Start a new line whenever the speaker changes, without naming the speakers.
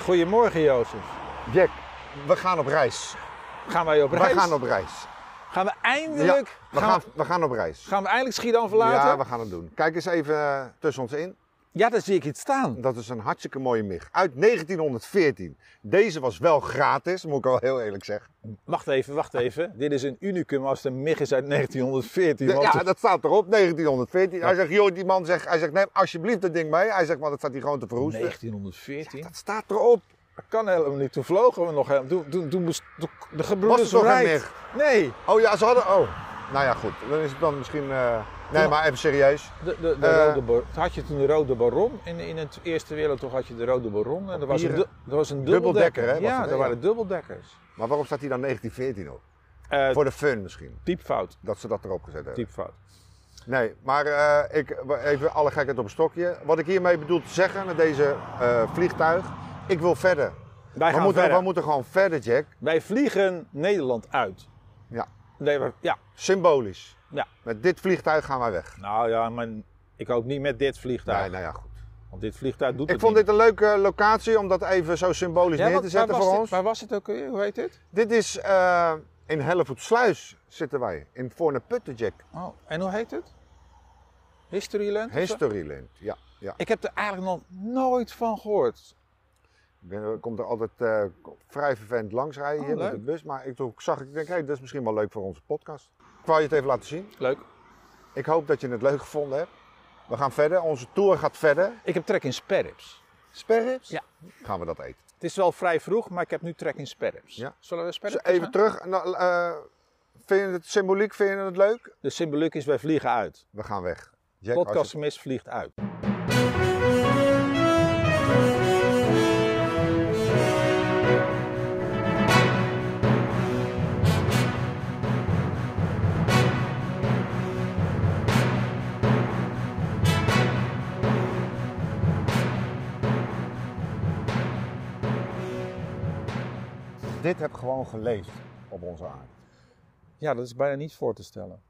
Goedemorgen Jozef.
Jack, we gaan op reis.
Gaan wij op reis?
We gaan op reis.
Gaan we eindelijk...
Ja, we, gaan, we gaan op reis.
gaan we eindelijk Schiedam verlaten?
Ja, we gaan het doen. Kijk eens even eh, tussen ons in.
Ja, daar zie ik iets staan.
Dat is een hartstikke mooie mig. Uit 1914. Deze was wel gratis, moet ik wel heel eerlijk zeggen.
Wacht even, wacht even. Dit is een unicum als de MIG is uit 1914. want-
Ja, dat staat erop, 1914. Hij zegt, joh, die man zegt, hij zegt, neem alsjeblieft dat ding mee. Hij zegt, want dat staat hier gewoon te verroesten.
1914?
Dat staat erop.
dat kan helemaal niet. Toen vlogen we nog helemaal. Toen, toen, toen moest- toen- de
Was
gebroeders
er toch een
Wright. Nee.
Oh ja, ze hadden, oh. Nou ja, goed. Dan is het dan misschien, eh, nee, maar even serieus.
De, de, de
Eh.
rode Bar- had je toen de Rode Baron? In, in het Eerste Wereldoorlog had je de Rode Baron. En er was een,
Papieren.
du- er was een dubbeldekker.
Dubbeldekker, hè, was
Ja,
het, hè,
er
ja.
waren dubbeldekkers.
Maar waarom staat hier dan 1914 op?
Eh,
Voor de fun misschien.
Typfout.
Dat ze dat erop gezet hebben.
Typfout.
Nee, maar eh, ik, even alle gekheid op een stokje. Wat ik hiermee bedoel te zeggen met deze eh, vliegtuig, ik wil verder.
Wij
we,
gaan
moeten,
verder.
we moeten gewoon verder, Jack.
Wij vliegen Nederland uit.
Ja.
Nee, we- ja.
Symbolisch.
Ja.
Met dit vliegtuig gaan wij weg.
Nou ja, maar ik hoop niet met dit vliegtuig.
Nee, nou ja, goed.
Want dit vliegtuig doet
Ik vond dit een leuke eh, locatie om dat even zo symbolisch neer te zetten
waar was
voor
dit-
ons.
Waar was het ook weer? Hoe heet dit?
Dit is eh, in Hellevoetsluis zitten wij. In Voorne Putten, Jack.
Oh, en hoe heet het? Historyland? of zo?
Historyland. Ja, ja.
Ik heb er eigenlijk nog nooit van gehoord.
Ik ben- er komt er altijd eh, vrij vervelend langs rijden
Oh,
hier met
leuk.
de bus. Maar ik toen zag, ik denk, hey, dat is misschien wel leuk voor onze podcast. Ik wou je het even laten zien.
Leuk.
Ik hoop dat je het leuk gevonden hebt. We gaan verder. Onze tour gaat verder.
Ik heb trek in sperrips.
Sperrips?
Ja.
Gaan we dat eten.
Het is wel vrij vroeg, maar ik heb nu trek in sperrips.
Ja.
Zullen we
Dus
sperrips
even
gaan?
terug. Nou, eh, vind je het symboliek? Vind je het leuk?
De symboliek is wij vliegen uit.
We gaan weg. Jack, als je-
Podcastgemis vliegt uit.
Dit heb gewoon geleefd op onze aarde.
Ja, dat is bijna niet voor te stellen.